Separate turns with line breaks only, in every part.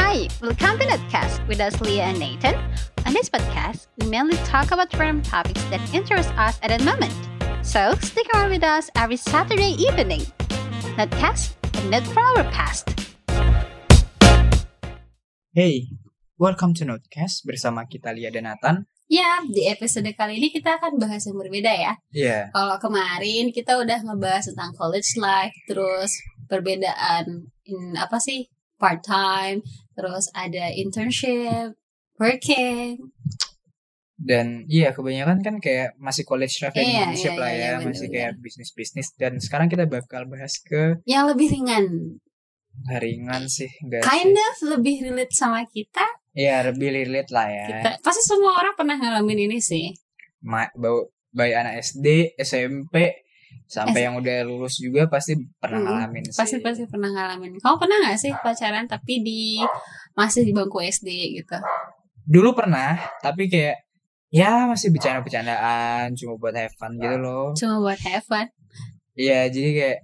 Hi, welcome to Netcast with us, Leah and Nathan. On this podcast, we mainly talk about random topics that interest us at the moment. So stick around with us every Saturday evening. Netcast, a net for our past.
Hey, welcome to Notcast bersama kita Lia dan Nathan.
Ya, di episode kali ini kita akan bahas yang berbeda ya.
Iya,
Kalau kemarin kita udah ngebahas tentang college life, terus perbedaan in, apa sih part time, terus ada internship, working,
dan iya kebanyakan kan kayak masih college life dan
Iya,
internship
iya,
lah
iya,
ya,
bener,
masih
bener.
kayak bisnis-bisnis dan sekarang kita bakal bahas ke
yang lebih ringan,
ringan sih, enggak
kind of lebih relate sama kita.
Iya, lebih relate lah ya.
Kita pasti semua orang pernah ngalamin ini sih.
Ma, bau baik anak SD, SMP sampai yang udah lulus juga pasti pernah
Hmm,
ngalamin sih.
Pasti pasti pernah ngalamin. Kamu pernah nggak sih pacaran tapi di masih di bangku SD gitu?
Dulu pernah, tapi kayak ya masih bercanda-bercandaan, cuma buat have fun gitu
Iya.
loh.
Cuma buat have fun.
Iya, jadi kayak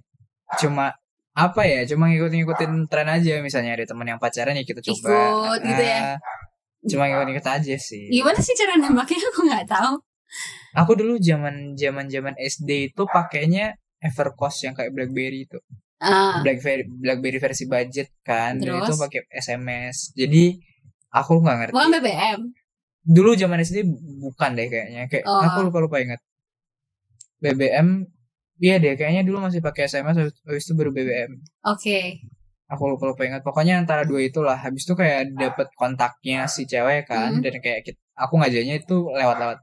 cuma apa ya, cuma ngikut-ngikutin tren aja misalnya ada teman yang pacaran ya kita coba.
Ikut gitu ya. Iya.
Ah, Cuma ngikut-ngikut aja sih.
Gimana sih cara nembaknya? Aku nggak tahu.
Aku dulu zaman zaman zaman SD itu pakainya Evercost yang kayak BlackBerry itu.
Ah.
BlackBerry BlackBerry versi budget kan. Dan itu
Terus?
pakai SMS. Jadi aku nggak ngerti.
Bukan BBM.
Dulu zaman SD bukan deh kayaknya. Kayak
Oh.
aku lupa-lupa ingat. BBM Iya deh, kayaknya dulu masih pakai SMS, habis habis itu baru BBM.
Oke.
aku lupa lupa ingat pokoknya antara dua itulah habis itu kayak dapet kontaknya si cewek
Mhm.
kan dan kayak kit- aku ngajaknya itu lewat lewat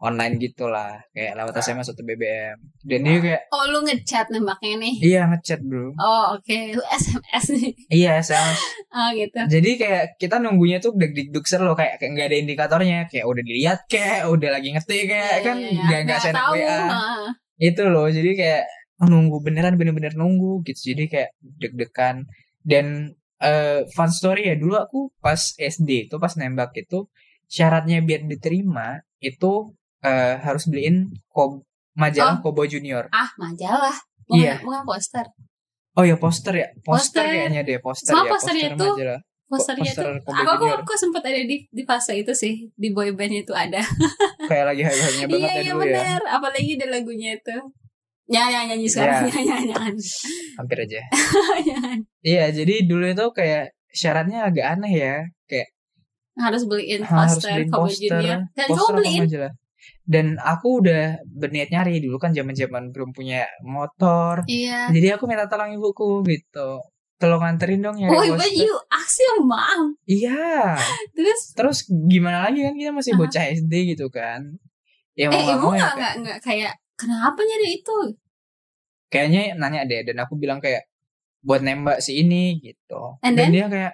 online gitulah kayak lewat SMS atau BBM dan dia kayak
Oh, lu ngechat nembaknya nih.
iya ngechat bro
Oh, oke. Lu SMS nih.
iya SMS
Oh, gitu.
jadi kayak kita nunggunya tuh deg deg dugser loh kayak kayak nggak ada indikatornya kayak udah dilihat kayak udah lagi ngetik kayak kan
Iya, iya,
nggak nggak
Nggak
seenak
tahu.
WA
Ah.
itu loh jadi kayak nunggu beneran bener-bener nunggu gitu jadi kayak deg-degan dan eh fun story ya dulu aku pas SD itu pas nembak itu syaratnya biar diterima itu eh, harus beliin kob majalah Kobo Junior
Ah, majalah. Bukan,
Iya.
bukan poster.
oh ya poster ya
Poster.
poster, kayaknya deh poster
Semua
ya
posternya itu
majalah
Posternya
poster
itu.
Kobe
ya, Aku, aku,
Junior.
aku sempat ada di, di fase itu sih. Di boy band itu ada.
kayak lagi hype-nya
iya,
banget ya
iya
dulu ya
bener. Apalagi ada lagunya itu. Nyanyi, nyanyi, nyanyi sekarang. Ya,
Iya.
Nyanyi, nyanyi,
hampir aja
nyanyi.
iya jadi dulu itu kayak syaratnya agak aneh ya kayak
Harus beliin
harus
poster,
beliin
Kobo
poster
Junior. Dan
poster
kamu
apa
beliin.
majalah. Dan aku udah berniat nyari dulu kan zaman-zaman belum punya motor.
Iya.
Jadi aku minta tolong ibuku gitu. Tolong anterin dong ya.
Oh, but you ask your mom.
Iya.
Terus
Terus gimana lagi kan kita
Aha.
masih bocah SD gitu kan. Ya mau
Eh,
nggak
ibu
mau ya
nggak nggak nggak kayak kenapa nyari itu?
kayaknya nanya deh dan aku bilang kayak buat nembak si ini gitu.
And
dan
then?
dia kayak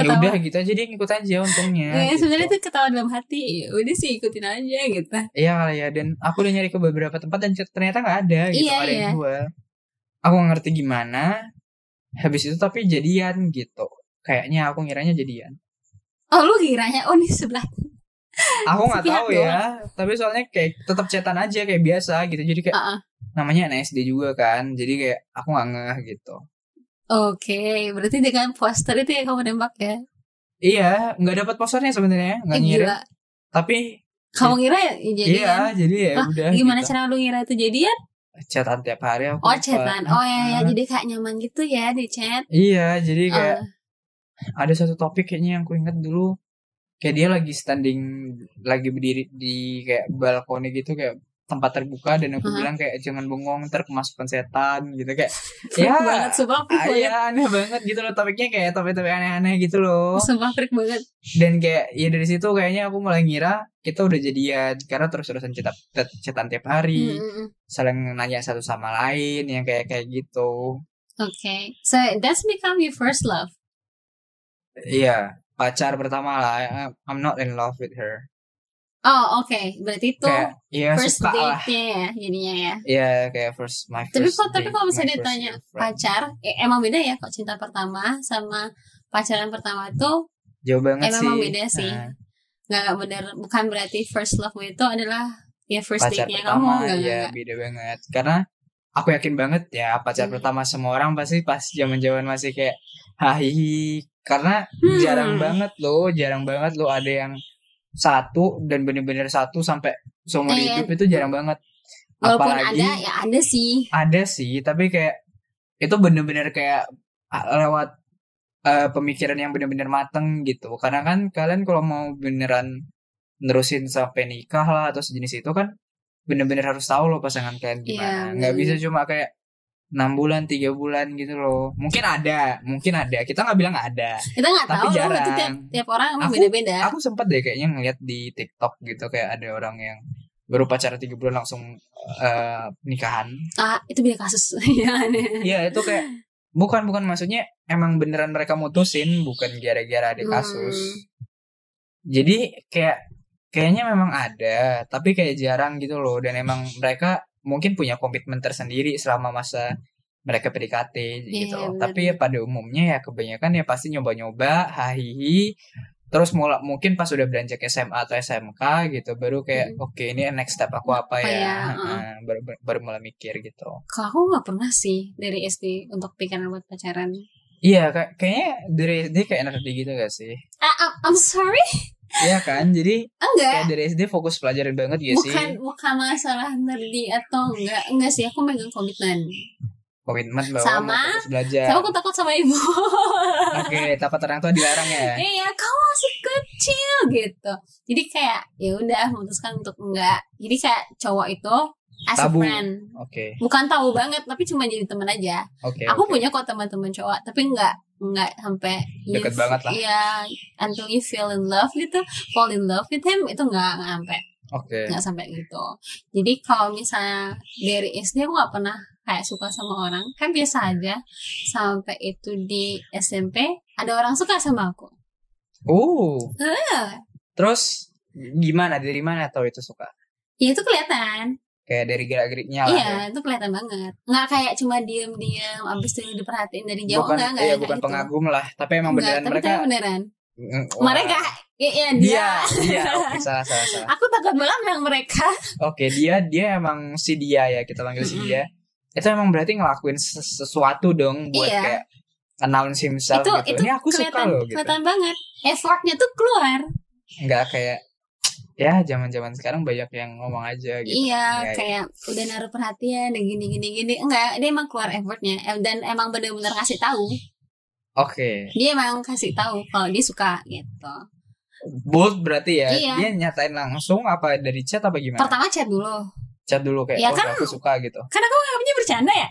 ya
Ketawa.
udah gitu aja dia ngikut aja untungnya.
Ya,
gitu.
sebenarnya tuh ketawa dalam hati. "Ya Udah sih ikutin aja gitu.
Iya kali ya dan aku udah nyari ke beberapa tempat dan ternyata nggak ada gitu
Iya,
nggak ada yang
iya.
jual. Aku nggak ngerti gimana. Habis itu tapi jadian gitu. Kayaknya aku ngiranya jadian.
Oh lu kiranya oh nih sebelah.
Aku nggak
Sepihak
tahu ya. Tapi soalnya kayak tetap cetan aja kayak biasa gitu. Jadi kayak
Ah, ah.
namanya anak SD juga kan. Jadi kayak aku nggak ngeh gitu.
Oke, berarti dengan poster itu yang kamu nembak ya?
Iya, nggak dapat posternya sebenarnya, nggak
Eh,
ngirim.
gila.
Tapi
Kamu ngira ya jadian?
iya, jadi ya
Hah,
udah.
Gimana
gitu.
cara lu ngira itu ya? jadian?
Cetan tiap hari aku.
Oh
lupa.
chatan. Oh ya ya jadi kayak nyaman gitu ya di chat.
Iya, jadi kayak
Ah,
ada satu topik kayaknya yang ku ingat dulu kayak dia lagi standing lagi berdiri di kayak balkoni gitu kayak tempat terbuka dan aku
Hah?
bilang kayak jangan bengong ntar kemasukan setan gitu kayak
freak
Ya.
banget, sumpah freak
ah,
banget.
iya aneh banget gitu loh topiknya kayak topik-topik aneh-aneh gitu loh
Sumpah freak banget.
dan kayak ya dari situ kayaknya aku mulai ngira kita udah jadian karena terus-terusan cetak cetan tiap
Mm,
hari
mm, mm.
saling nanya satu sama lain yang kayak kayak gitu
Oke. So that's become your first love.
iya pacar pertama lah I- I'm not in love with her
Oh, oke. Berarti itu
kayak ya
first
suka lah
date-nya ya jadinya ya.
Iya kayak first my first
Tapi kalau tapi
date,
kalau
my
misalnya
first
ditanya
girlfriend.
pacar, eh, emang beda ya kok cinta pertama sama pacaran pertama itu
jauh banget
eh,
sih.
memang beda sih.
Nah,
nggak nggak benar bukan berarti first love itu adalah ya first
pacar
date-nya kamu
pertama
nggak
ya
nggak, nggak.
beda banget karena aku yakin banget ya pacar
Hmm.
pertama semua orang pasti pas zaman zaman masih kayak hahihi karena
Hmm.
jarang banget loh jarang banget loh ada yang satu dan bener-bener satu sampai seumur
Iya.
hidup itu jarang banget
Walaupun
apalagi
ada, ya ada sih.
ada sih tapi kayak itu bener-bener kayak ah, lewat eh, pemikiran yang bener-bener mateng gitu karena kan kalian kalau mau beneran nerusin sampai nikah lah atau sejenis itu kan bener-bener harus tahu loh pasangan kalian gimana
Iya,
nggak
bener.
bisa cuma kayak enam bulan tiga bulan gitu loh mungkin ada mungkin ada kita nggak bilang nggak ada
Kita nggak
Tapi
tahu loh,
jarang.
itu tiap, tiap orang emang
Aku-
beda-beda.
aku sempet deh kayaknya ngeliat di TikTok gitu kayak ada orang yang baru pacaran tiga bulan langsung eh, nikahan
Ah, itu beda kasus. Iya, aneh.
Iya itu kayak bukan bukan maksudnya emang beneran mereka mutusin bukan gara-gara ada kasus.
Hmm.
Jadi kayak kayaknya memang ada tapi kayak jarang gitu loh dan emang mereka mungkin punya komitmen tersendiri selama masa mereka PDKT gitu.
Iya,
loh.
bener.
Tapi ya pada umumnya ya kebanyakan ya pasti nyoba-nyoba, hahihi. Terus mulai mungkin pas udah beranjak SMA atau SMK gitu baru kayak oke ini next step aku
Apa
apa, ya,
ya,
Heeh, baru, baru- baru mulai mikir gitu.
Kalau aku nggak pernah sih dari SD untuk pikiran buat pacaran.
Iya, ka- kayaknya dari SD kayak anak SD gitu gak sih?
Ah, I'm- I'm sorry,
Iya kan, jadi
enggak.
kayak dari SD fokus pelajaran banget ya sih?
Bukan bukan masalah nerdy atau enggak enggak sih aku megang komitmen.
Komitmen bahwa
Sama.
mau fokus belajar.
Sama aku takut sama ibu.
Oke, takut orang tua dilarang ya?
Iya, kamu masih kecil gitu. Jadi kayak ya udah memutuskan untuk enggak. Jadi kayak cowok itu as a
Tabu.
friend.
Oke,
Bukan tahu banget, tapi cuma jadi teman aja.
oke.
aku
oke.
punya kok teman-teman cowok, tapi enggak enggak sampai you-
Deket banget lah.
Iya, until you feel in love gitu, fall in love with him itu enggak enggak sampai
Oke.
nggak sampai gitu jadi kalau misalnya dari SD aku nggak pernah kayak suka sama orang kan biasa aja sampai itu di SMP ada orang suka sama aku
Uh,
Eh,
terus gimana? Dari mana tahu itu suka?
ya itu kelihatan
Kayak dari gerak-geriknya lah.
iya itu kelihatan banget nggak kayak cuma diem-diem abis itu diperhatiin dari
ya.
jauh
bukan,
nggak nggak
iya,
kayak
bukan
gitu.
pengagum lah, tapi emang
Nggak,
beneran
tapi
mereka. Iya.
tapi beneran
Mm, wah.
mereka ya, ya, dia
Dia, dia. Oke, salah, salah, salah.
aku takut banget bilang mereka
Oke, dia dia emang si dia ya kita panggil si
Mm-mm.
dia. Itu emang berarti ngelakuin ses- sesuatu dong buat
Iya.
kayak announce himself
itu
gitu.
itu
Ini aku suka
kelihatan
loh gitu.
kelihatan banget effortnya tuh keluar
Enggak kayak ya zaman-zaman sekarang banyak yang ngomong aja gitu.
Iya,
Ya,
kayak udah naruh perhatian dan gini gini gini. Enggak, dia emang keluar effortnya Em- dan emang bener-bener kasih tahu.
Oke.
Dia emang kasih tahu kalau dia suka gitu.
Nah. Bold berarti ya.
Iya.
Dia nyatain langsung apa dari chat apa gimana?
Pertama chat dulu.
Chat dulu kayak
Ya
oh
kan.
aku suka gitu.
Karena kamu nganggapnya bercanda ya?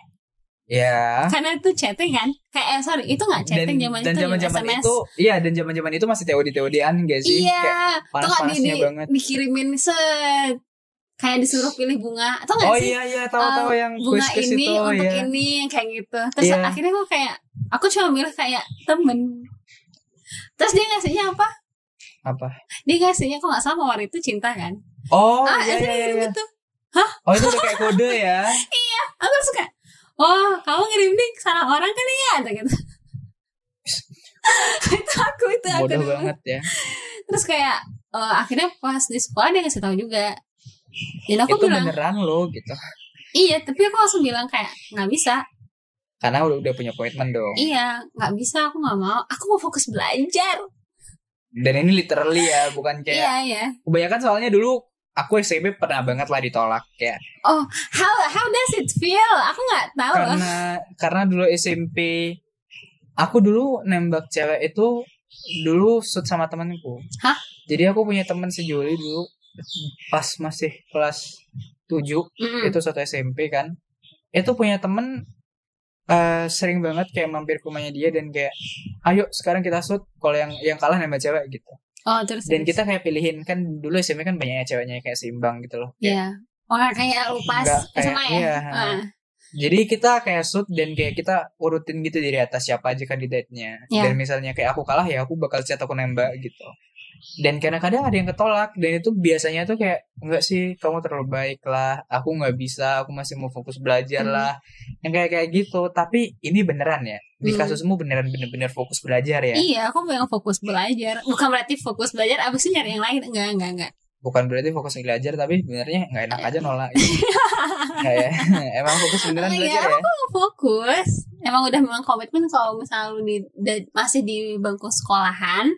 Ya.
Karena itu chatting kan? Kayak eh, sorry, itu nggak
Dan
chatting zaman
dan
itu ya,
zaman-zaman
SMS.
itu, iya dan zaman-zaman itu masih teori-teorian guys sih. Kayak,
iya, atau nggak di,
panas-panasnya
di-
banget.
dikirimin set kayak disuruh pilih bunga atau nggak
oh
sih? Eh,
iya iya tahu-tahu yang
bunga
kuis-kuis
ini
itu
untuk
ya.
ini kayak gitu terus
Iya.
akhirnya gue kayak aku cuma milih kayak temen terus dia ngasihnya apa
Apa?
dia ngasihnya kok nggak sama waktu itu cinta kan
Oh
ah
iya,
itu
iya,
ngirim
iya.
itu
Oh itu udah kayak kode ya?
aku langsung kayak oh kamu ngirim ini ke salah orang kan ya atau gitu itu aku itu aku
Bodoh
dulu.
banget ya.
terus kayak eh, akhirnya pas di sekolah dia ngasih tahu juga dan aku
Itu
bilang
beneran loh gitu.
iya tapi aku langsung bilang kayak nggak bisa
Karena udah udah punya komitmen dong.
iya nggak bisa aku nggak mau aku mau fokus belajar
Dan ini literally ya, bukan kayak
iya iya
kebanyakan soalnya dulu aku SMP pernah banget lah ditolak ya.
how how does it feel aku nggak tahu loh
Karena karena dulu SMP aku dulu nembak cewek itu dulu shoot sama temanku.
Hah?
Jadi aku punya teman sejoli dulu pas masih kelas 7
Mm-mm.
itu satu SMP kan itu punya temen eh, sering banget kayak mampir ke rumahnya dia dan kayak ayo sekarang kita shoot kalau yang yang kalah nembak cewek gitu
oh terus
dan
terus.
kita kayak pilihin kan dulu SMP kan banyak ya ceweknya kayak seimbang gitu loh
iya oh nggak kayak lupas
Nggak kayak-
SMA ya
iya.
Ah,
jadi kita kayak shoot dan kayak kita urutin gitu dari atas siapa aja kandidatnya
Iya.
dan misalnya kayak aku kalah ya aku bakal chat aku nembak gitu dan kadang-kadang ada yang ketolak dan itu biasanya tuh kayak enggak sih kamu terlalu baik lah aku nggak bisa aku masih mau fokus belajar
Hmm.
lah yang kayak kayak gitu tapi ini beneran ya di
Hmm.
kasusmu beneran bener-bener fokus belajar ya
Iya, aku memang fokus belajar. Bukan berarti fokus belajar abis itu nyari yang lain. Enggak, enggak, enggak.
bukan berarti fokus belajar tapi sebenarnya nggak enak aja nolak gitu. Nah, ya. Emang fokus beneran
Iya,
belajar ya?
fokus emang udah memang komitmen kalau misalnya lu di- da- masih di bangku sekolahan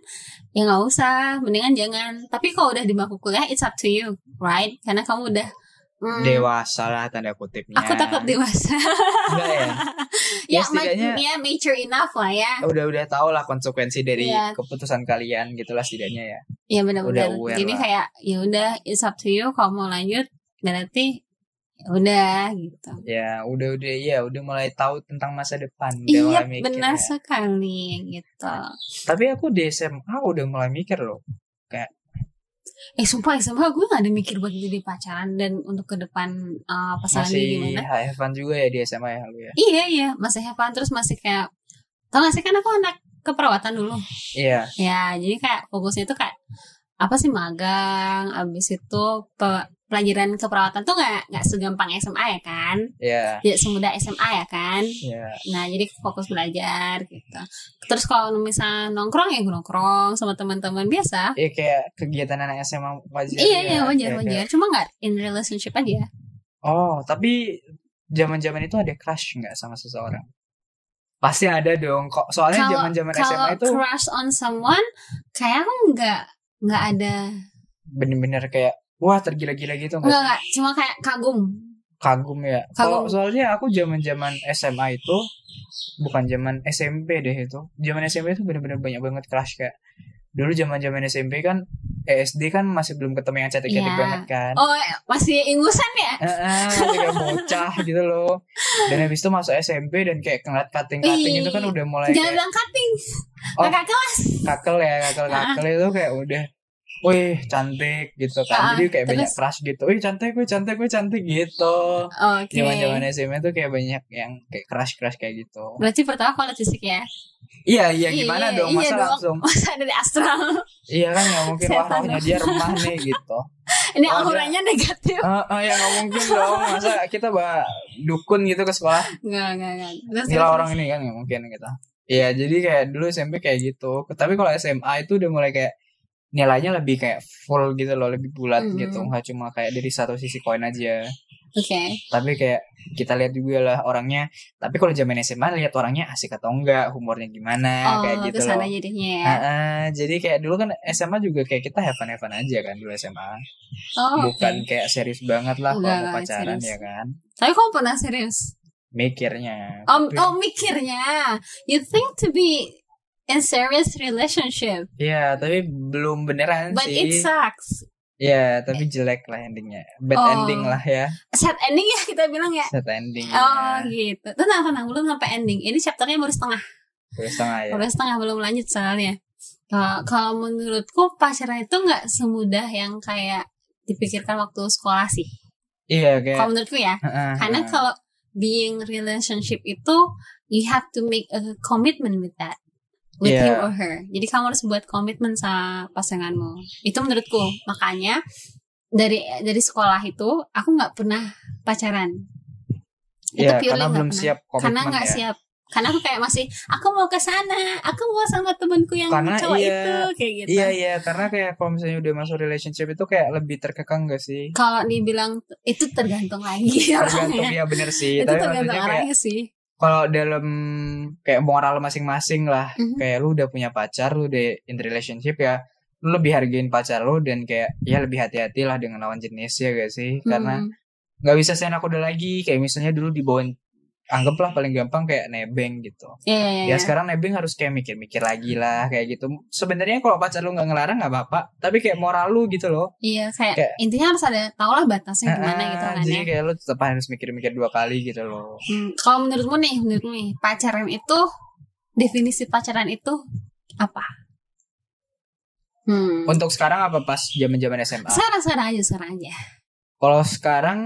ya nggak usah mendingan jangan tapi kalau udah di bangku kuliah it's up to you right karena kamu udah hmm,
Dewasa lah tanda kutipnya.
aku takut dewasa
Enggak ya. Ya,
ya, ma-
setidaknya-
ya mature enough lah ya
Ah, Udah udah tau lah konsekuensi dari
Iya.
keputusan kalian gitulah setidaknya ya.
ya benar-benar
Udah aware
jadi
lah.
kayak ya udah it's up to you kalau mau lanjut berarti ya udah gitu
Ya udah udah ya udah mulai tahu tentang masa depan. Udah
iya
mulai mikir
benar
ya.
sekali gitu
Tapi aku di SMA udah mulai mikir loh.
Eh sumpah SMA gue gak ada mikir buat jadi pacaran dan untuk ke depan uh, pasangan gue
Masih
gimana
have fun juga ya di SMA ya lu ya.
Iya iya masih have fun, terus masih kayak Tau gak sih kan aku anak keperawatan dulu
Iya.
Ya jadi kayak fokusnya tuh kayak Apa sih magang Abis itu pe- pelajaran keperawatan tuh gak, nggak segampang SMA ya kan
Iya.
Tidak semudah SMA ya kan
Iya.
Nah jadi fokus belajar gitu Terus kalau misalnya nongkrong ya gue nongkrong sama teman-teman biasa
Ya kayak kegiatan anak SMA wajar.
Iya
ya.
iya wajar
Kayak-
wajar Cuma gak in relationship aja
Oh, tapi zaman-zaman itu ada crush nggak sama seseorang? Pasti ada dong. Kok soalnya
Kalau-
zaman-zaman SMA
kalau
itu
crush on someone kayak aku nggak nggak ada
bener-bener kayak wah tergila-gila gitu
nggak
nggak?
nggak cuma kayak kagum
Kagum ya.
Kagum.
Kalau soalnya aku zaman-zaman SMA itu bukan zaman SMP deh itu. Zaman SMP itu bener-bener banyak banget crush kayak dulu zaman-zaman SMP kan eh, SD kan masih belum ketemu yang cantik-cantik
Iya.
banget kan.
oh masih ingusan ya
Heeh, kayak bocah gitu loh. Dan habis itu masuk SMP dan kayak ngeliat kating-kating itu kan udah mulai
jangan
kayak-
bilang cutting
Oh.
kakak kelas
kakel ya kakel kakel itu kayak udah Wih cantik gitu
Ah,
kan Jadi kayak banyak
terus?
crush gitu Wih cantik, wih cantik, wih cantik gitu
oke
Zaman-zaman SMA tuh kayak banyak yang kayak crush-crush kayak gitu
berarti pertama kalau fisik ya
Iya, iya
Iya,
gimana
iya,
dong
iya
Masa
dong.
langsung
masa dari astral
Iya kan nggak mungkin Wah
Setan
rohnya dia remah nih gitu
ini
Oh,
auranya negatif
Eh, eh, Ya nggak mungkin dong Masa kita bah dukun gitu ke sekolah
nggak nggak nggak terus
Gila
terus.
orang ini kan nggak mungkin gitu Iya jadi kayak dulu SMP kayak gitu Tapi kalau SMA itu udah mulai kayak Nilainya lebih kayak full gitu loh Lebih bulat
Mhm.
gitu Nggak cuma kayak dari satu sisi koin aja
oke
Tapi kayak kita lihat juga lah orangnya Tapi kalau zaman SMA lihat orangnya asik atau enggak Humornya gimana
oh
kayak
kesana
gitu loh
jadinya ya
Ah, ah, jadi kayak dulu kan SMA juga kayak kita have fun-have fun aja kan dulu SMA
oh oke
Nah, Bukan kayak serius banget lah kalau
Enggak,
mau
enggak
pacaran
serius.
ya kan
tapi kamu pernah serius
Mikirnya
oh,
Tapi-
oh mikirnya you think to be in serious relationship
Iya tapi belum beneran
but
Kan sih
it sucks
Ya, tapi jelek lah endingnya. Bad
Oh.
ending lah ya.
set ending ya kita bilang ya.
Set ending.
Oh
ya.
gitu. Tenang tenang belum sampai ending. Ini chapternya baru setengah.
Dua setengah ya.
Baru setengah belum lanjut soalnya. Kalau- Kalau menurutku pacaran itu nggak semudah yang kayak dipikirkan waktu sekolah sih.
Iya, kayak.
Kalau menurutku ya.
Heeh,
Karena
heeh.
kalau being relationship itu you have to make a commitment with that with
Yeah.
him or her. Jadi kamu harus buat komitmen sama pasanganmu. Itu menurutku. Makanya dari dari sekolah itu aku nggak pernah pacaran. itu
Iya,
purely ya
karena
nggak
belum
pernah.
siap komitmen
karena nggak
ya.
siap karena aku kayak masih aku mau ke sana aku mau sama temanku yang
Karena
cowok
iya,
itu kayak gitu
Iya, iya, karena kayak kalau misalnya udah masuk relationship itu kayak lebih terkekang gak sih?
kalau dibilang itu tergantung lagi
Tergantung
orangnya
ya bener sih.
Iya, itu
tapi
tergantung
maksudnya kayak
orangnya sih
kalau dalam kayak moral masing-masing lah,
Mhm.
kayak lu udah punya pacar, lu udah in relationship ya, lu lebih hargain pacar lu dan kayak ya lebih hati-hati lah dengan lawan jenis ya gak sih? Karena
Mm.
nggak bisa seenak udah lagi kayak misalnya dulu dibawain anggaplah paling gampang kayak nebeng gitu
Iya, iya, iya.
ya sekarang nebeng harus kayak mikir-mikir lagi lah kayak gitu sebenarnya kalau pacar lu nggak ngelarang nggak apa-apa tapi kayak moral lu gitu loh
Iya, kayak,
kayak-
intinya harus ada tau lah batasnya gimana
Ah,
gitu kan
jadi
ya
kayak lu tetap harus mikir-mikir dua kali gitu loh
Hmm, kalau menurutmu nih menurutmu nih pacaran itu definisi pacaran itu apa hmm.
untuk sekarang apa pas zaman-zaman SMA
sekarang sekarang aja sekarang aja
kalau sekarang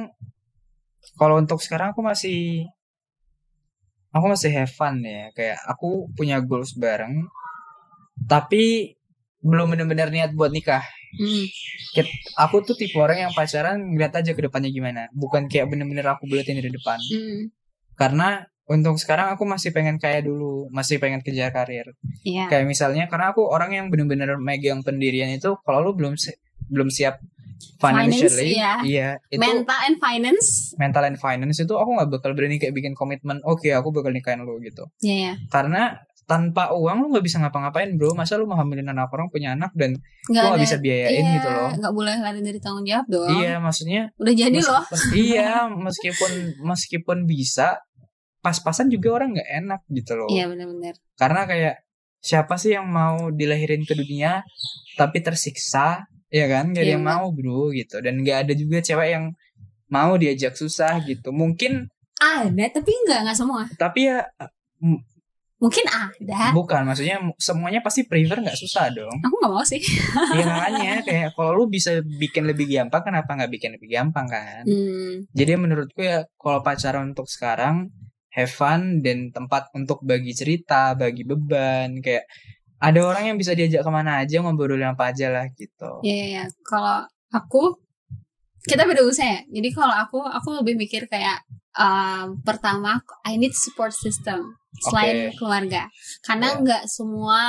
kalau untuk sekarang aku masih aku masih have fun ya kayak aku punya goals bareng tapi belum bener-bener niat buat nikah
Hmm.
aku tuh tipe orang yang pacaran ngeliat aja ke depannya gimana bukan kayak bener-bener aku bulatin dari depan
Hmm.
karena untuk sekarang aku masih pengen kaya dulu masih pengen kejar karir
Iya.
kayak misalnya karena aku orang yang bener-bener megang pendirian itu kalau lu belum si- belum siap financially
Finance, iya.
iya itu
mental and finance
mental and finance itu aku nggak bakal berani kayak bikin komitmen oke aku bakal nikahin lo gitu
ya ya
karena tanpa uang lu nggak bisa ngapa-ngapain bro masa lu mau hamilin anak orang punya anak dan lu
nggak
nggak
ada-
bisa biayain
iya,
gitu loh
nggak boleh lari dari tanggung jawab dong
iya maksudnya
udah jadi loh
Meskipun- iya, meskipun meskipun bisa pas-pasan juga orang nggak enak gitu loh.
iya benar-benar
Karena kayak siapa sih yang mau dilahirin ke dunia tapi tersiksa, ya kan? Gak ada
Iya,
yang
Mbak.
mau bro gitu. Dan gak ada juga cewek yang mau diajak susah gitu. Mungkin
ada tapi nggak nggak semua
tapi ya
mungkin ada
bukan maksudnya semuanya pasti prefer nggak susah dong.
aku nggak mau sih
Iya makanya kayak kalau lu bisa bikin lebih gampang kenapa nggak bikin lebih gampang kan?
hmm,
Jadi menurutku ya kalau pacaran untuk sekarang have fun dan tempat untuk bagi cerita, bagi beban kayak ada orang yang bisa diajak kemana aja ngobrolin apa aja lah gitu.
ya ya, ya. kalau aku kita beda usia ya jadi kalau aku aku lebih mikir kayak um, pertama I need support system selain keluarga karena
Iya.
nggak semua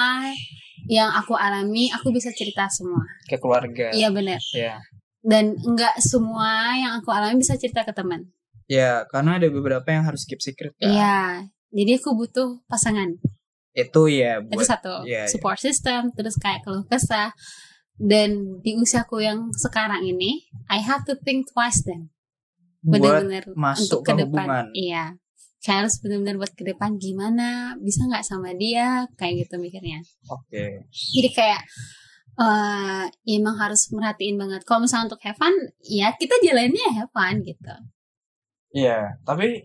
yang aku alami aku bisa cerita semua
Ke keluarga.
iya benar
Ya.
dan nggak semua yang aku alami bisa cerita ke teman
Ya, karena ada beberapa yang harus keep secret kan.
Iya, jadi aku butuh pasangan.
Itu ya
itu
buat
satu,
iya,
support system, terus kayak keluh kesah. Dan di usiaku yang sekarang ini, I have to think twice then.
buat
Benar-benar untuk
masuk ke
ke depan.
hubungan.
Iya. Saya harus benar-benar buat ke depan gimana, bisa nggak sama dia, kayak gitu mikirnya.
oke.
Jadi kayak eh ya emang harus merhatiin banget. Kalau misalnya untuk have fun, ya kita jalannya have fun gitu.
Iya, tapi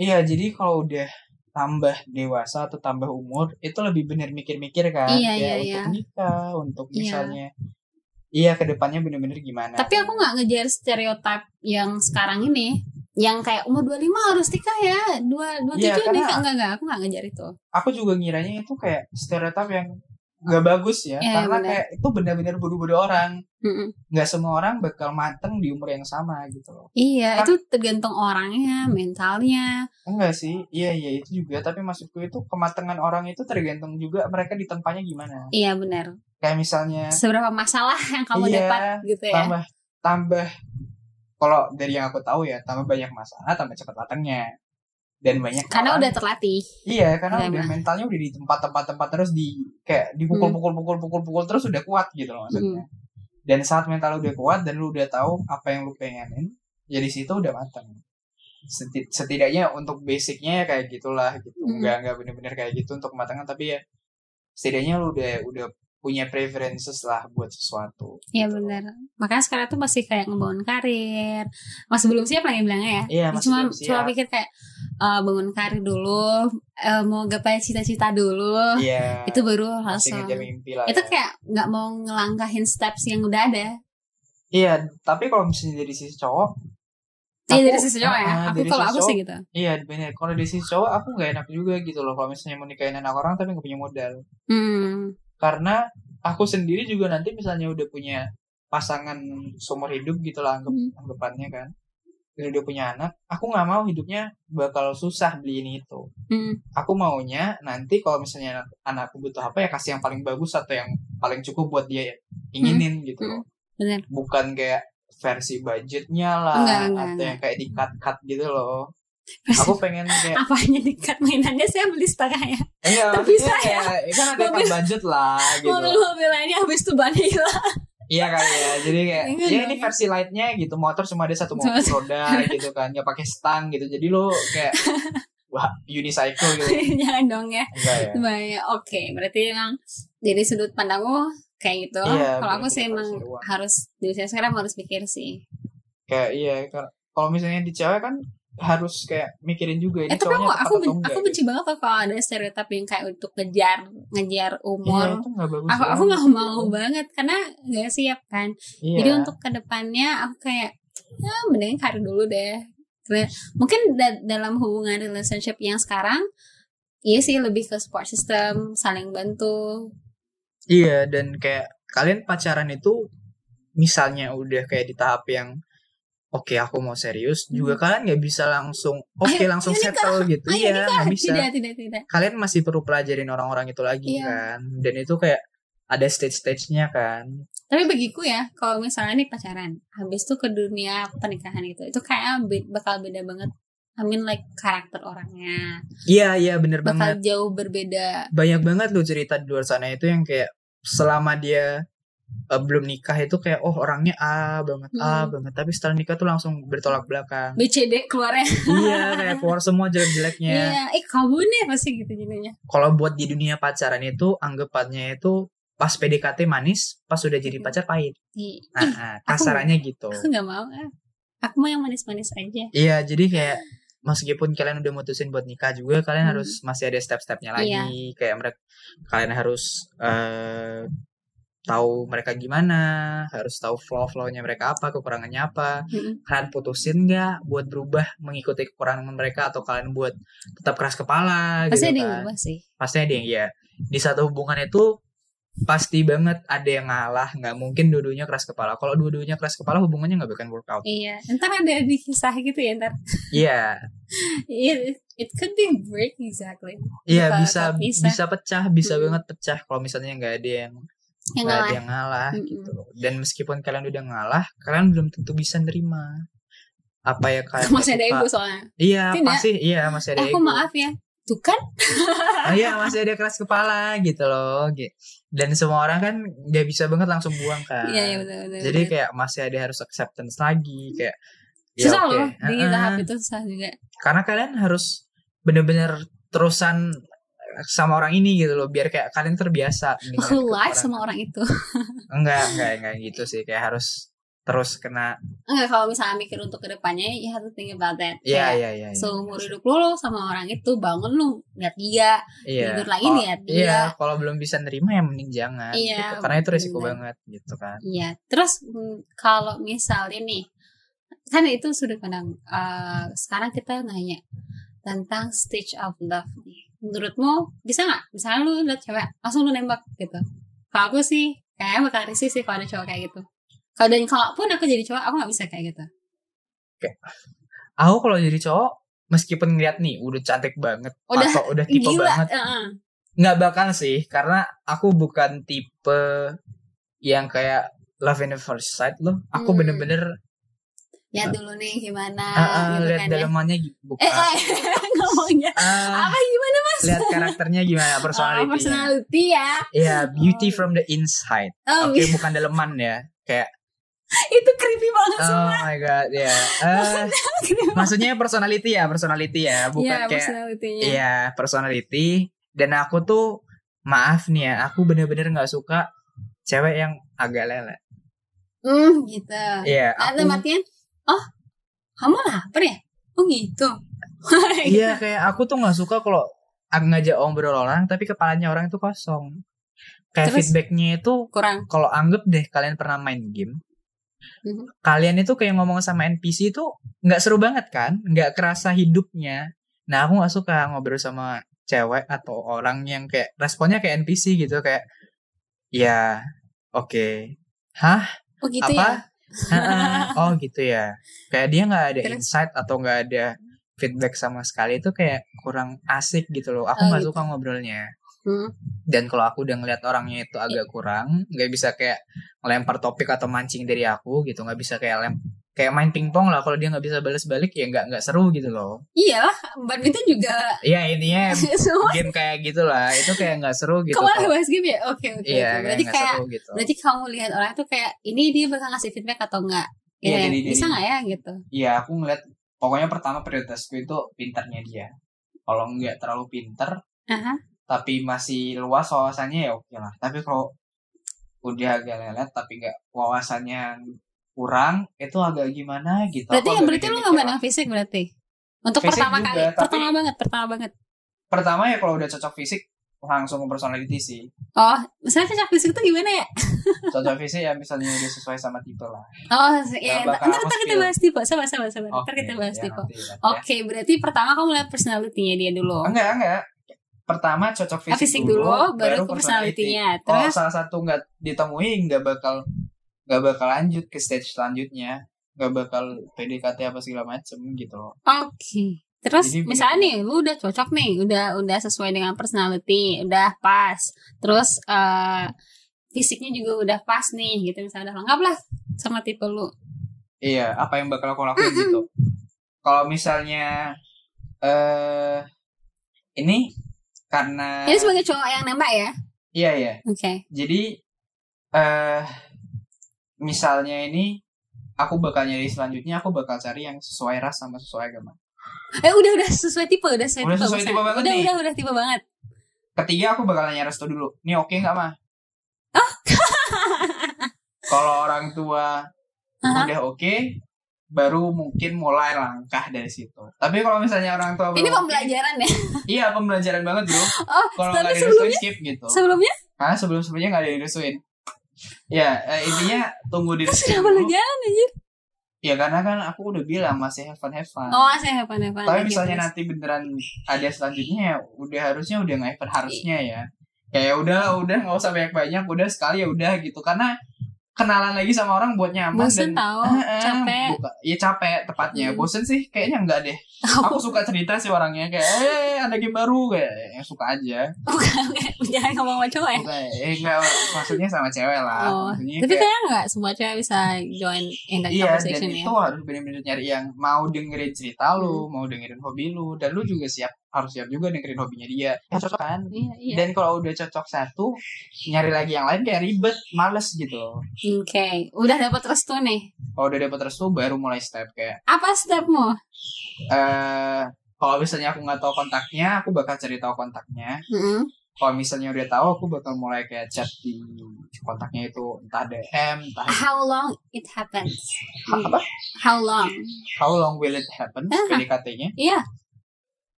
iya jadi kalau udah tambah dewasa atau tambah umur itu lebih bener mikir-mikir kan
Iya,
Kayak
iya,
untuk nikah, untuk
Iya.
misalnya iya kedepannya bener-bener gimana.
Tapi aku nggak ngejar stereotip yang sekarang ini yang kayak umur 25 harus nikah ya, 2 27
Iya, karena-
nikah enggak enggak, aku nggak ngejar itu.
aku juga ngiranya itu kayak stereotip yang gak bagus ya,
Iya,
karena
bener.
kayak itu benar-benar buru-buru orang.
Mm-mm.
Gak semua orang bakal mateng di umur yang sama gitu loh.
Iya,
Kar-
itu tergantung orangnya, mentalnya.
Enggak sih, iya iya itu juga. Tapi maksudku itu kematangan orang itu tergantung juga mereka di tempatnya gimana.
Iya benar.
Kayak misalnya
Seberapa masalah yang kamu
Iya,
dapat gitu ya.
tambah tambah kalau dari yang aku tahu ya tambah banyak masalah tambah cepat matangnya dan banyak
Karena
orang-
udah terlatih.
iya karena
Karena
udah
emang.
mentalnya udah di tempat tempat tempat terus di kayak
Hmm.
dipukul pukul pukul pukul pukul terus udah kuat gitu loh maksudnya dan saat mental udah kuat dan lu udah tahu apa yang lu pengenin ya di situ udah matang Seti- setidaknya untuk basicnya ya kayak gitulah gitu
Mm.
nggak nggak bener-bener kayak gitu untuk kematangan tapi ya setidaknya lu udah udah punya preferences lah buat sesuatu Gitu.
Iya benar. Makanya sekarang tuh masih kayak ngebangun karir. Masih belum siap lagi bilangnya ya.
iya masih
cuma
belum siap.
cuma pikir kayak eh, bangun karir dulu, eh, mau gapai cita-cita dulu.
Iya.
Itu baru harus
masih ngejar mimpi lah.
itu
ya.
kayak nggak mau ngelangkahin steps yang udah ada
Iya, tapi kalau misalnya dari sisi cowok,
Iya
Aku-
dari sisi cowok ya
ah,
aku
dari
kalau
sisi
aku sih gitu
iya bener. Kalau dari sisi cowok aku nggak enak juga gitu loh kalau misalnya mau nikahin anak orang tapi nggak punya modal.
hmm
Karena aku sendiri juga nanti misalnya udah punya pasangan seumur hidup gitu lah anggap,
Hmm.
anggapannya kan. Dan udah punya anak, aku nggak mau hidupnya bakal susah beli ini itu.
hmm
Aku maunya nanti kalau misalnya anak, anakku butuh apa ya kasih yang paling bagus atau yang paling cukup buat dia inginin gitu
Hmm.
loh.
benar
bukan kayak versi budgetnya
Enggak,
lah
enggak,
atau
enggak.
yang kayak di cut cut gitu loh aku pengen kayak
apanya dekat mainannya saya beli setengah ya
enggak
Tapi
maksudnya kayak ya kan ada cut
mobil-
budget lah gitu
mobil mobilannya habis tuh bannya hilang
iya kali ya jadi kayak
Enggak
ya
dong.
ini versi lightnya gitu motor cuma ada satu motor roda gitu kan nggak pakai stang gitu jadi lo kayak wah unicycle gitu
jangan dong ya
enggak ya
Bahaya. oke berarti emang dari sudut pandangmu kayak gitu
Iya,
kalau aku
benar-benar
sih emang
harus diluang.
harus di usia sekarang harus mikir sih
kayak iya kar- kalau misalnya di cewek kan harus kayak mikirin juga ini
eh tapi aku aku,
cowoknya tepat atau
ben-
enggak gitu.
aku benci banget tuh kalau ada stereotip yang kayak untuk ngejar ngejar
gitu. iya,
umur
itu nggak bagus
aku aku
banget.
nggak mau banget karena nggak siap kan
Iya.
Jadi untuk kedepannya aku kayak ya mending karir dulu deh. Karena- Mungkin da- dalam hubungan relationship yang sekarang Iya sih lebih ke support system, saling bantu.
Iya dan kayak kalian pacaran itu misalnya udah kayak di tahap yang oke aku mau serius juga kalian nggak bisa langsung oke
Hmm. Ayo,
langsung
ayo nikah.
settle gitu
Ayo
iya nggak bisa
Tidak, tidak, tidak.
kalian masih perlu pelajarin orang-orang itu lagi
Iya.
kan dan itu kayak ada stage-stage-nya kan
Tapi bagiku ya, kalau misalnya nih pacaran, habis tuh ke dunia pernikahan gitu, itu, itu kayaknya be- bakal beda banget. I mean like karakter orangnya
iya iya bener banget
bakal jauh berbeda.
banyak banget loh cerita di luar sana itu yang kayak selama dia eh, belum nikah itu kayak oh orangnya A banget A
Hmm.
banget tapi setelah nikah tuh langsung bertolak belakang
BCD keluarnya.
iya kayak keluar semua
Iya,
jelek-jeleknya
eh kamu nih pasti gitu jadinya.
kalau buat di dunia pacaran itu anggapannya itu pas PDKT manis pas sudah jadi pacar pahit
Hmm. Ih,
nah, nah, kasarannya gitu
aku nggak mau ah. Aku mau yang manis-manis aja.
iya jadi kayak meskipun kalian udah mutusin buat nikah juga kalian
Hmm. Iya.
harus masih ada step-stepnya lagi kayak mereka kalian harus eh, tahu mereka gimana harus tahu flow-flownya mereka apa kekurangannya apa
Mm-mm.
kalian putusin nggak buat berubah mengikuti kekurangan mereka atau kalian buat tetap keras kepala
Pasti
gitu
ada yang
kan.
berubah sih.
pasti ada yang ya di satu hubungan itu pasti banget ada yang ngalah nggak mungkin dua-duanya keras kepala kalau dua-duanya keras kepala hubungannya nggak akan workout
Iya, ntar ada di kisah gitu ya ntar.
iya
It, it could be break exactly.
iya
Bakal
bisa
tetap bisa.
bisa pecah bisa
Mm-mm.
banget pecah kalau misalnya nggak ada yang
Yang
nggak ada
ngalah.
yang ngalah
Mm-mm.
gitu loh. dan meskipun kalian udah ngalah kalian belum tentu bisa nerima apa ya kalian
Masih ada
suka.
ego soalnya.
iya
Tidak.
pasti iya masih ada
Eh, aku
ego.
maaf ya. Tuh kan?
Ah, iya masih ada keras kepala gitu loh Gi- dan semua orang kan nggak bisa banget langsung buang kan
Iya, iya benar-benar.
jadi kayak masih ada harus acceptance lagi kayak ya
susah
oke.
loh di
Heeh. Iya,
tahap itu susah juga
karena kalian harus bener-bener terusan sama orang ini gitu loh biar kayak kalian terbiasa dengan
aku live
kekurangan.
sama orang itu
enggak enggak enggak gitu sih kayak harus terus kena
enggak kalau misalnya mikir untuk kedepannya ya harus think about that
ya
Kayak,
ya ya
seumur hidup lu, lu sama orang itu bangun lu lihat dia
iya
tidur lagi
Kalau-
lihat ya, dia
iya kalau belum bisa nerima ya mending jangan
Iya,
gitu. karena itu resiko
bener.
banget gitu kan
iya terus mm, kalau misalnya nih kan itu sudah pandang eh, sekarang kita nanya tentang stage of love nih menurutmu bisa nggak misalnya lu lihat cewek langsung lu nembak gitu kalau aku sih kayaknya bakal risih sih kalau ada cowok kayak gitu kalau dan kalaupun aku jadi cowok aku nggak bisa kayak gitu
aku kalau jadi cowok meskipun ngeliat nih udah cantik banget
Udah,
atau udah tipe
gila
banget
heeh.
nggak bakal sih karena aku bukan tipe yang kayak love in the first sight loh aku
Hmm.
bener-bener
lihat dulu nih gimana
Nah. ah, ah,
gitu
lihat Ah.
kan ya.
dalamannya gi- bukan
Eh, eh ngomongnya
Ah,
apa gimana
lihat karakternya gimana
personality,
personality
personality ya?
ya beauty from the inside
Oh,
oke bukan daleman ya kayak
itu creepy banget sih.
oh my god ya Eh,
Creepy banget.
maksudnya personality ya personality ya bukan
Iya,
kayak
personality-nya.
Iya, personality. Dan aku tuh maaf nih ya, aku bener-bener nggak suka cewek yang agak lele.
Hmm, gitu.
Iya,
Ada
aku.
matian? Oh, kamu lapar ya? Oh gitu.
Iya, kayak aku tuh nggak suka kalau aku ngajak ngobrol orang, tapi kepalanya orang itu kosong. Kayak
Terus?
feedbacknya itu
Kurang.
kalau anggap deh kalian pernah main game,
Mhm.
kalian itu kayak ngomong sama NPC itu nggak seru banget kan? Nggak kerasa hidupnya. Nah, aku nggak suka ngobrol sama cewek atau orang yang kayak responnya kayak NPC gitu kayak ya oke
Oh gitu
apa?
ya.
Heeh. oh gitu ya. Kayak dia nggak ada
Terus?
insight atau nggak ada feedback sama sekali itu kayak kurang asik gitu loh. Aku
Oh,
nggak
gitu.
suka ngobrolnya.
Hmm. Iya.
Dan kalau aku udah ngeliat orangnya itu agak kurang, nggak bisa kayak ngelempar topik atau mancing dari aku gitu, nggak bisa kayak lem kayak main pingpong lah kalau dia nggak bisa balas balik ya nggak nggak seru gitu loh.
Iyalah, badminton juga
Iya intinya
semua.
game kayak gitulah itu kayak nggak seru gitu.
Kamu lagi
kalau-
bahas game ya? Oke, oke. oke.
Iya kayak
Berarti
nggak
kayak
seru gitu.
berarti kamu lihat orang itu kayak ini dia bakal ngasih feedback atau enggak?
Iya,
Iya,
jadi-
bisa
jadi-
nggak ya gitu?
Iya aku ngeliat pokoknya pertama prioritasku itu pinternya dia. Kalau nggak terlalu pinter
Aha.
tapi masih luas wawasannya ya oke lah. Tapi kalau udah agak lelet tapi nggak wawasannya kurang itu agak gimana gitu.
Berarti ya,
Aku agak
berarti lu nggak
mikir-mikir
mandang fisik berarti. Untuk
Fisik
pertama
juga,
kali,
tapi-
pertama banget, pertama banget.
lah. Pertama ya kalau udah cocok fisik langsung ke personality sih.
Oh, misalnya cocok fisik tuh gimana ya?
Cocok fisik ya misalnya udah sesuai sama tipe lah.
Oh, ya. Ntar,
bakal aku
ntar kita
spill.
bahas tipe, sabar, sabar, sabar. Ntar kita bahas
ya,
tipe. Oke,
nanti lihat
Oh.
ya.
berarti pertama kamu lihat personality-nya dia dulu. Ah,
Enggak enggak. Pertama cocok
Fisik,
Ah, fisik,
dulu, baru ke personality-nya.
Kalau
Terus,
Oh, salah satu nggak ditemui nggak bakal nggak bakal lanjut ke stage selanjutnya nggak bakal PDKT apa segala macem gitu loh.
oke. Terus
Jadi bener.
misalnya nih, lu udah cocok nih, udah udah sesuai dengan personality, udah pas. Terus eh fisiknya juga udah pas nih gitu misalnya udah lengkap lah sama tipe lu
Iya, apa yang bakal aku lakuin gitu. Kalau misalnya eh ini karena
ini sebagai cowok yang nembak ya
iya iya.
oke
Jadi eh misalnya ini aku bakal nyari selanjutnya aku bakal cari yang sesuai ras sama sesuai agama.
eh udah udah sesuai tipe udah sesuai
Udah
tipe,
sesuai
bukan?
tipe banget
udah
nih.
udah udah tipe banget
Ketiga aku bakal nanya restu dulu. Ini oke nggak mah?
Oh.
Kalau orang tua
Aha.
udah oke, baru mungkin mulai langkah dari situ. Tapi kalau misalnya orang tua
ini
belum oke,
pembelajaran ya
Iya pembelajaran banget bro.
Oh,
kalau
tapi
nggak direstuin
sebelumnya-
skip gitu.
sebelumnya
Karena sebelum sebelumnya nggak direstuin. Ya eh, intinya tunggu direstuin
kenapa lu
dulu.
jalan anjir
Ya karena kan aku udah bilang masih have fun have fun.
oh saya apa apa
Tapi misalnya nanti beneran ada selanjutnya ya udah harusnya udah nggak ever harusnya ya. Kayak udah udah nggak usah banyak banyak udah sekali ya udah gitu karena kenalan lagi sama orang buat nyaman
bosen
dan
tau
Eh, eh,
capek
buka- Iya capek tepatnya.
Hmm.
Bosen sih kayaknya enggak deh. Aku suka cerita sih orangnya kayak eh ada game baru kayak eh, suka aja.
jangan ngomong sama cowok ya
Bukan, eh enggak maksudnya sama cewek lah.
Oh,
maksudnya
tapi
kayak-
kayaknya nggak semua cewek bisa join in that
Iya, dan
conversation ya Hmm.
itu harus benar-benar nyari yang mau dengerin cerita lu, mau dengerin hobi lu, dan lu juga siap harus siap juga dengerin hobinya dia. Ya, cocok kan?
iya iya
Dan kalau udah cocok satu, nyari lagi yang lain kayak ribet, males gitu.
oke udah dapat restu nih
Kalau udah dapet restu baru mulai step kayak
apa stepmu
eh kalau misalnya aku nggak tahu kontaknya, aku bakal cari tahu kontaknya.
Mm-mm.
Kalau misalnya udah tahu, aku bakal mulai kayak chat di kontaknya itu entah DM, entah
how long it happens
apa.
how long
How long will it happen?
Ah.
PDKT-nya.
iya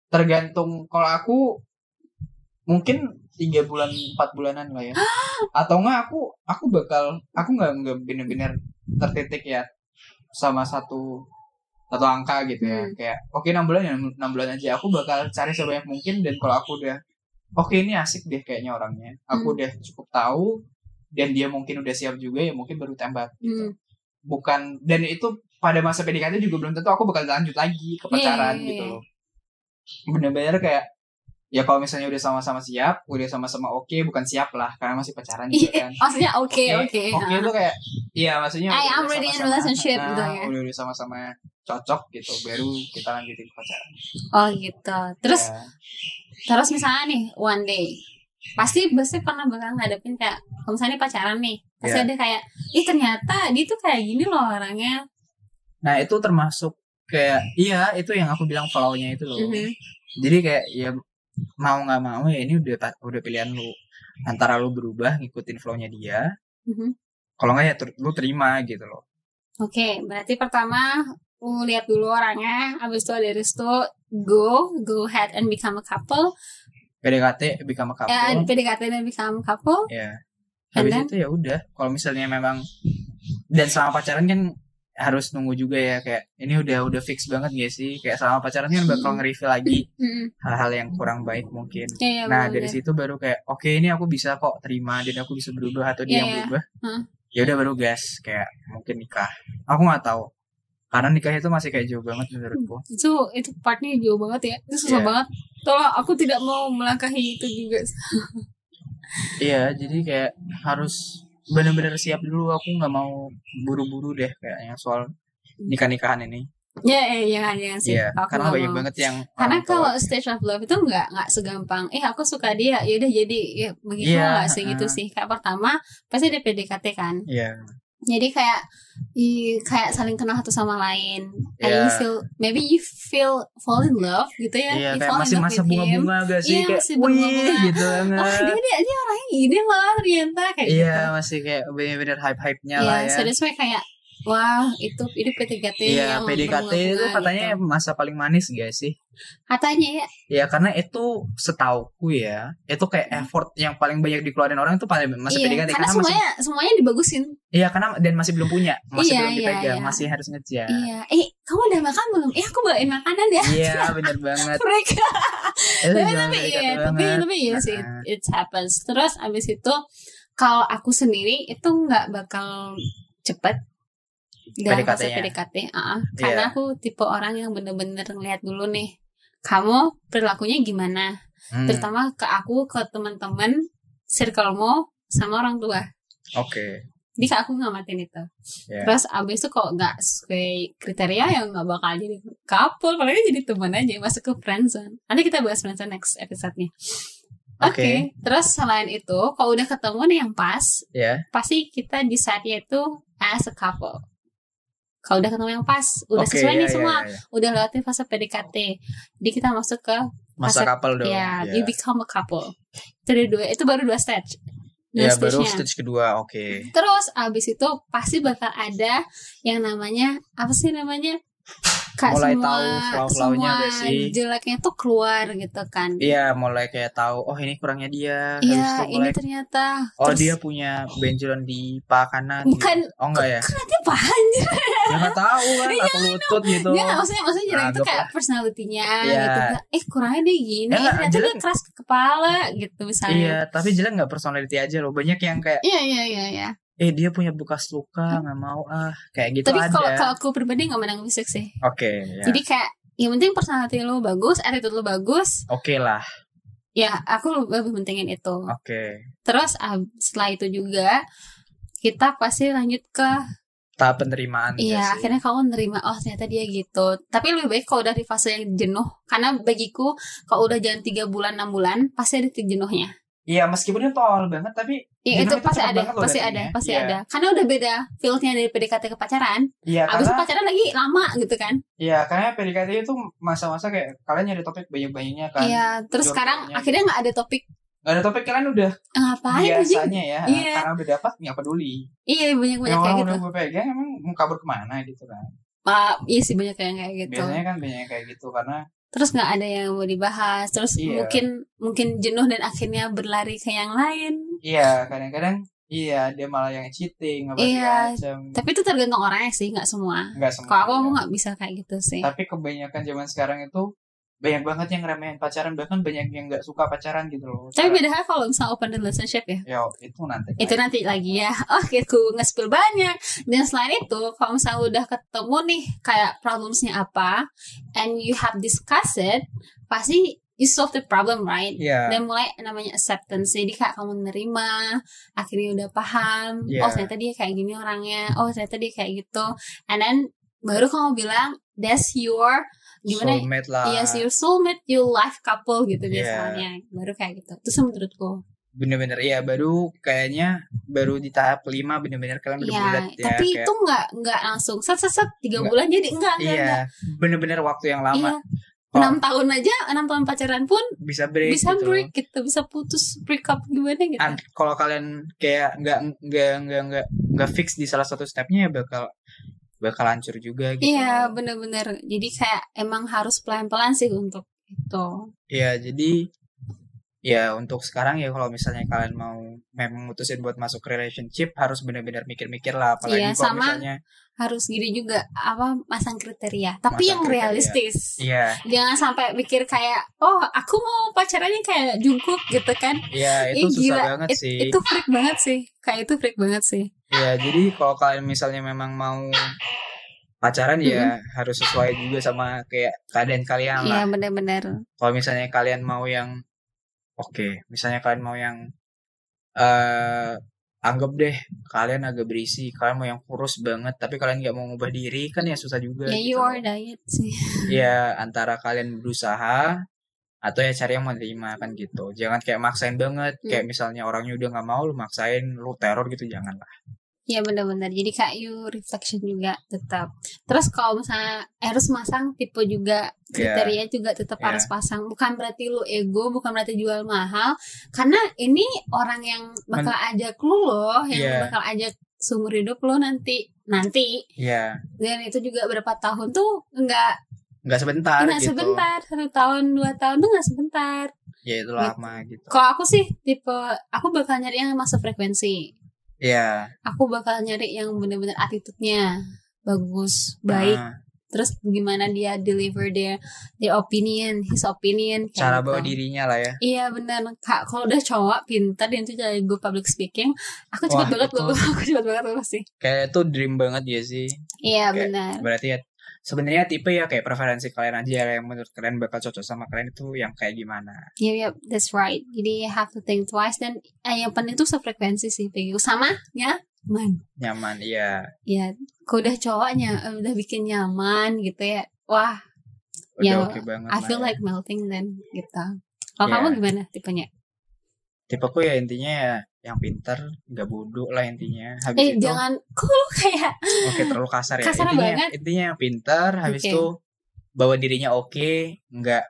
tergantung kalau aku mungkin tiga bulan empat bulanan lah ya atau enggak aku aku bakal aku nggak nggak bener-bener tertitik ya sama satu satu angka gitu ya
Hmm.
kayak oke enam bulan ya enam bulan aja aku bakal cari sebanyak mungkin dan kalau aku udah oke ini asik deh kayaknya orangnya aku
Hmm.
udah cukup tahu dan dia mungkin udah siap juga ya mungkin baru tembak
Hmm.
bukan dan itu pada masa PDKT juga belum tentu aku bakal lanjut lagi ke pacaran
Iya, iya, iya.
gitu loh. Bener-bener kayak ya kalau misalnya udah sama-sama siap, udah sama-sama oke, bukan siap lah karena masih pacaran juga
Iya,
kan.
maksudnya oke oke ah.
Oke itu kayak iya
I
maksudnya udah
am ready in
sama-sama,
relationship gitu
ah,
ya.
Udah udah sama-sama cocok gitu baru kita lanjutin ke pacaran.
oh gitu terus
Ya.
terus misalnya nih one day pasti pasti pernah bakal ngadepin kayak kalau misalnya nih pacaran nih pasti
Iya.
ada kayak ih ternyata dia tuh kayak gini loh orangnya
Nah, itu termasuk kayak iya itu yang aku bilang follow-nya itu loh.
Mhm.
jadi kayak ya mau nggak mau ya ini udah ta- udah pilihan lu antara lu berubah ngikutin flow-nya dia
Mhm.
kalau nggak ya ter- lu terima gitu loh
oke berarti pertama lu lihat dulu orangnya abis itu ada restu go go ahead and become a couple
PDKT become a couple
ya
ya,
PDKT dan become couple
habis
dan-
itu ya udah kalau misalnya memang dan selama pacaran kan harus nunggu juga ya kayak ini udah udah fix banget gak sih kayak selama pacaran kan bakal nge-review lagi
Mhm.
hal-hal yang kurang baik mungkin
Iya, iya,
Nah
benar,
dari
benar.
situ baru kayak oke ini aku bisa kok terima dan aku bisa berubah atau
Iya,
dia yang
iya.
berubah.
Heeh.
Ya udah baru gas kayak mungkin nikah. Aku nggak tahu karena nikah itu masih kayak jauh banget menurutku.
itu itu partnya jauh banget ya itu susah
Iya.
banget tolong aku tidak mau melangkahi itu juga
Iya jadi kayak harus bener-bener siap dulu. Aku nggak mau buru-buru deh kayaknya soal nikah-nikahan ini.
ya ya jangan jangan sih
Iya
aku
karena
nggak
banyak
mau.
banget yang
karena
orang tua-
kalau stage of love itu nggak nggak segampang eh aku suka dia ya udah jadi ya begitu
Iya,
nggak sih gitu
heeh.
sih kayak pertama pasti ada PDKT kan
Iya
jadi kayak i- kayak saling kenal satu sama lain and
Iya.
you feel maybe you feel fall in love gitu ya
iya
you
kayak
fall in
masih
love
masa
with him.
bunga-bunga gak sih
Iya,
kayak
masih
wih
bunga-bunga.
gitu
oh
banget.
dia dia, dia orangnya gini loh ternyata kayak
Iya
gitu
masih kayak bener-bener hype-hype-nya
Iya,
lah ya.
so that's why kayak wah itu ini PDKT
Iya,
yang
PDKT itu
berbunga-bunga
katanya
gitu.
masa paling manis gak sih?
katanya ya
Ya karena itu setauku ya, itu kayak effort yang paling banyak dikeluarin orang itu paling masa
Hmm. iya,
PDKT
karena
masih
semuanya semuanya dibagusin
Iya, karena dan masih belum punya, masih
Iya,
belum
iya,
dipegang,
iya.
masih harus ngejar.
Iya, eh kamu udah makan belum? Eh aku bawain makanan ya.
Iya, bener banget.
Mereka.
Itu
tapi
zaman
tapi
PDKT
iya, tapi
banget.
tapi iya sih,
Heeh.
it happens. Terus abis itu kalau aku sendiri itu nggak bakal cepet dalam fase
PDKT-nya.
PDKT, ah, ah. karena
Iya.
aku tipe orang yang bener-bener ngeliat dulu nih, kamu perilakunya gimana,
Hmm.
terutama ke aku, ke teman-teman, circlemu, sama orang tua.
Oke.
Jadi kayak aku ngamatin itu.
Ya.
Terus abis itu kok nggak sesuai kriteria ya nggak bakal jadi couple, palingnya jadi teman aja masuk ke friendzone. Nanti kita bahas friendzone next episode-nya. Oke,
Oke.
terus selain itu, kalau udah ketemu nih yang pas,
Ya.
pasti kita decide-nya itu as a couple. Kalau udah ketemu yang pas, udah
Oke,
sesuai
ya,
nih
ya,
semua,
ya, ya.
udah lewatin fase PDKT. Jadi kita masuk ke
Masa
Masa-
kapal dong.
ya,
ya.
you become a couple. Itu ada dua, itu baru dua stage. Dua
Ya, baru
stage-nya.
stage kedua. Oke.
Terus abis itu pasti bakal ada yang namanya apa sih namanya? Kak
Mulai
semua
tahu flaw-flawnya
semua
gak sih?
jeleknya tuh keluar gitu kan.
Iya, mulai kayak tahu oh ini kurangnya dia. Habis itu
Iya, ini
mulai,
ternyata.
oh
Terus-
dia punya benjolan di paha kanan. gitu.
Bukan.
Oh enggak ya?
Kan dia paham.
Ya enggak tahu kan
Iya,
atau lutut gitu.
Dia Iya, nggak maksudnya maksudnya jelek itu
Anggap
kayak personalitinya
Iya.
gitu. Eh kurangnya dia gini.
Ya,
eh, ternyata dia
jelek.
keras ke kepala gitu misalnya.
Iya, tapi jelek nggak personality aja loh. Banyak yang kayak
Iya iya iya. iya.
eh dia punya bekas luka nggak mau ah kayak gitu
Tapi
ada.
kalau Iya. kalau aku pribadi nggak menang fisik sih.
Oke, ya.
Jadi kayak yang penting personality lu bagus, attitude lu bagus.
Oke lah,
Ya aku lebih pentingin itu.
oke.
Terus ab- setelah itu juga kita pasti lanjut ke
Tahap penerimaan. ya
iya
sih.
akhirnya kamu nerima oh ternyata dia gitu tapi lebih baik kalau udah di fase yang jenuh karena bagiku kalau udah jalan tiga bulan enam bulan pasti ada titik jenuhnya
Iya, meskipun itu awal banget tapi
Iya itu
Jenuh itu
pasti
cepet
ada
banget loh
pasti ada
datangnya.
pasti
Iya.
ada karena udah beda feel-nya dari PDKT ke pacaran
iya
abis itu
karena
pacaran lagi lama gitu kan
iya karena PDKT itu masa-masa kayak kalian nyari topik banyak-banyaknya kan.
iya terus
jodohnya.
sekarang akhirnya nggak ada topik
Gak ada topik kalian udah
"Eh, ngapain aja
biasanya ya.
Iya.
Karena udah dapat nggak peduli.
iya banyak banyak
Yang
kayak
orang
gitu
udah gue pegang emang mau kabur kemana gitu kan.
Ah, iya sih banyak yang kayak gitu
Biasanya kan banyak kayak gitu karena
terus nggak ada yang mau dibahas terus
Iya.
mungkin mungkin jenuh dan akhirnya berlari ke yang lain
iya kadang-kadang iya dia malah yang cheating apa
Iya.
macam.
tapi itu tergantung orangnya sih nggak semua
Enggak semua.
kalau aku aku
iya.
nggak bisa kayak gitu sih
tapi kebanyakan zaman sekarang itu banyak banget yang remehin pacaran bahkan banyak yang nggak suka pacaran gitu loh
tapi
Cara-
beda hal kalau misalnya open relationship ya
ya itu nanti
itu nanti lagi ya oke aku nge-spill banyak dan selain itu kalau misalnya udah ketemu nih kayak problemsnya apa and you have discussed it pasti you solve the problem right
Iya.
dan mulai namanya acceptance jadi kayak kamu nerima akhirnya udah paham
Yeah.
oh ternyata dia kayak gini orangnya oh ternyata dia kayak gitu and then baru kamu bilang that's your gimana ya? Iya
soulmate Iya. lah
Yes, your soulmate, your life couple gitu
Yeah.
biasanya. Baru kayak gitu. Itu sih menurutku.
bener-bener iya baru kayaknya baru di tahap kelima bener-bener kalian udah bulat
Iya,
ya
tapi
kayak-
itu nggak nggak langsung set set set tiga
Nggak.
bulan jadi enggak enggak
iya
enggak.
bener-bener waktu yang lama
Iya.
Oh.
Enam tahun aja, enam tahun pacaran pun
bisa break
bisa
gitu
break gitu, bisa putus break up gimana gitu.
An- kalau kalian kayak nggak nggak nggak nggak nggak fix di salah satu stepnya ya bakal bakal hancur juga gitu
Iya bener-bener Jadi kayak emang harus pelan-pelan sih untuk itu
Ya, jadi ya untuk sekarang ya kalau misalnya kalian mau memang mutusin buat masuk relationship harus benar-benar mikir-mikir lah apalagi
Iya,
kalau
sama.
misalnya
Harus gini juga apa masang kriteria Tapi
Masang
yang
kriteria.
realistis
iya
Jangan sampai mikir kayak Oh aku mau pacarannya kayak Jungkook gitu kan
iya
Ih,
itu susah
gila.
banget
It-
sih
Itu freak banget sih Kayak itu freak banget sih
ya jadi kalau kalian misalnya memang mau pacaran ya harus sesuai juga sama kayak keadaan kalian
Iya
lah
bener-bener
kalau misalnya kalian mau yang oke misalnya kalian mau yang eh anggap deh kalian agak berisi kalian mau yang kurus banget tapi kalian nggak mau ngubah diri kan ya susah juga
Ya you
gitu loh.
are diet sih
ya antara kalian berusaha atau ya cari yang menerima kan gitu jangan kayak maksain banget
Hmm.
kayak misalnya orangnya udah nggak mau lu maksain lu teror gitu jangan lah
Iya benar-benar. Jadi kayak you reflection juga tetap. Terus kalau misalnya harus masang tipe juga kriteria juga tetap
Iya.
harus pasang. Bukan berarti lu ego, bukan berarti jual mahal. Karena ini orang yang bakal ajak lu loh, yang
Iya.
bakal ajak seumur hidup lu nanti nanti
ya
dan itu juga berapa tahun tuh nggak
nggak sebentar
nggak
gitu
sebentar satu tahun dua tahun tuh nggak sebentar
ya itu lama gitu
kalau aku sih tipe aku bakal nyari yang masuk frekuensi
ya
aku bakal nyari yang bener-bener attitude-nya bagus, baik.
nah,
Terus gimana dia deliver their their opinion, his opinion. kayak
cara
gitu.
bawa dirinya lah ya
Iya bener kak. Kalau udah cowok pintar dan itu jadi gue public speaking, aku
Wah,
cepet banget
itu-
lulus. Aku cepet banget lulus sih.
kayak itu dream banget ya sih
Iya
Kayak-
benar.
berarti ya sebenarnya tipe ya kayak preferensi kalian aja ya, yang menurut kalian bakal cocok sama kalian itu yang kayak gimana
Yep, yep, that's right. Jadi you have to think twice dan eh, yang penting tuh sefrekuensi sih, Peggy. Sama ya, man.
nyaman iya
Ya, kalau udah cowoknya eh, udah bikin nyaman gitu ya. Wah,
udah
Ya,
oke banget
I
lah
feel
ya.
like melting then gitu. Kalau
Yeah.
kamu gimana tipenya?
tipeku ya intinya ya yang pinter nggak bodoh lah intinya habis
Eh,
itu
jangan kok lu kayak
oke terlalu kasar ya
Kasar
intinya
banget.
intinya yang pintar habis
Oke.
itu bawa dirinya oke nggak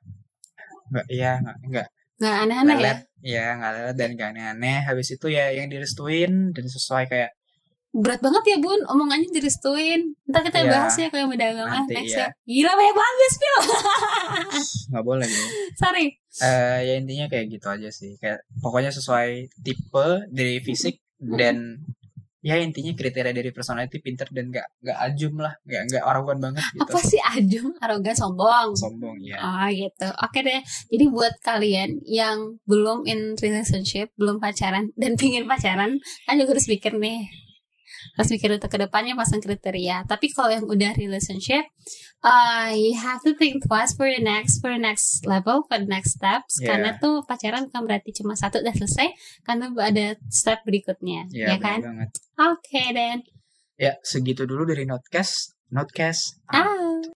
nggak ya nggak nggak
nggak aneh-aneh ya.
lelet ya nggak lelet dan nggak aneh-aneh habis itu ya yang direstuin dan sesuai kayak
Berat banget ya, Bun. Omongannya direstuin. Ntar kita
Yeah.
bahas ya kalau yang beda agama
Iya. Nanti, iya.
next
yeah.
ya. Gila banyak banget guys, Pil.
nggak boleh gitu
Sorry.
Eh, ya intinya kayak gitu aja sih kayak pokoknya sesuai tipe dari fisik dan ya intinya kriteria dari personality pinter dan nggak nggak ajum lah nggak nggak arogan banget gitu
Apa sih ajum, arogan, sombong?
sombong ya
Oh gitu. Oke deh. Jadi buat kalian yang belum in relationship, belum pacaran dan pingin pacaran, kan juga harus mikir nih. Harus mikir untuk kedepannya pasang kriteria. Tapi kalau yang udah relationship, uh, you have to think twice for the next, for the next level, for the next steps.
Yeah.
Karena tuh pacaran bukan berarti cuma satu dan selesai, karena ada step berikutnya, ya
ya, bener
kan?
banget
Oke dan
ya segitu dulu dari notcast notcast
out.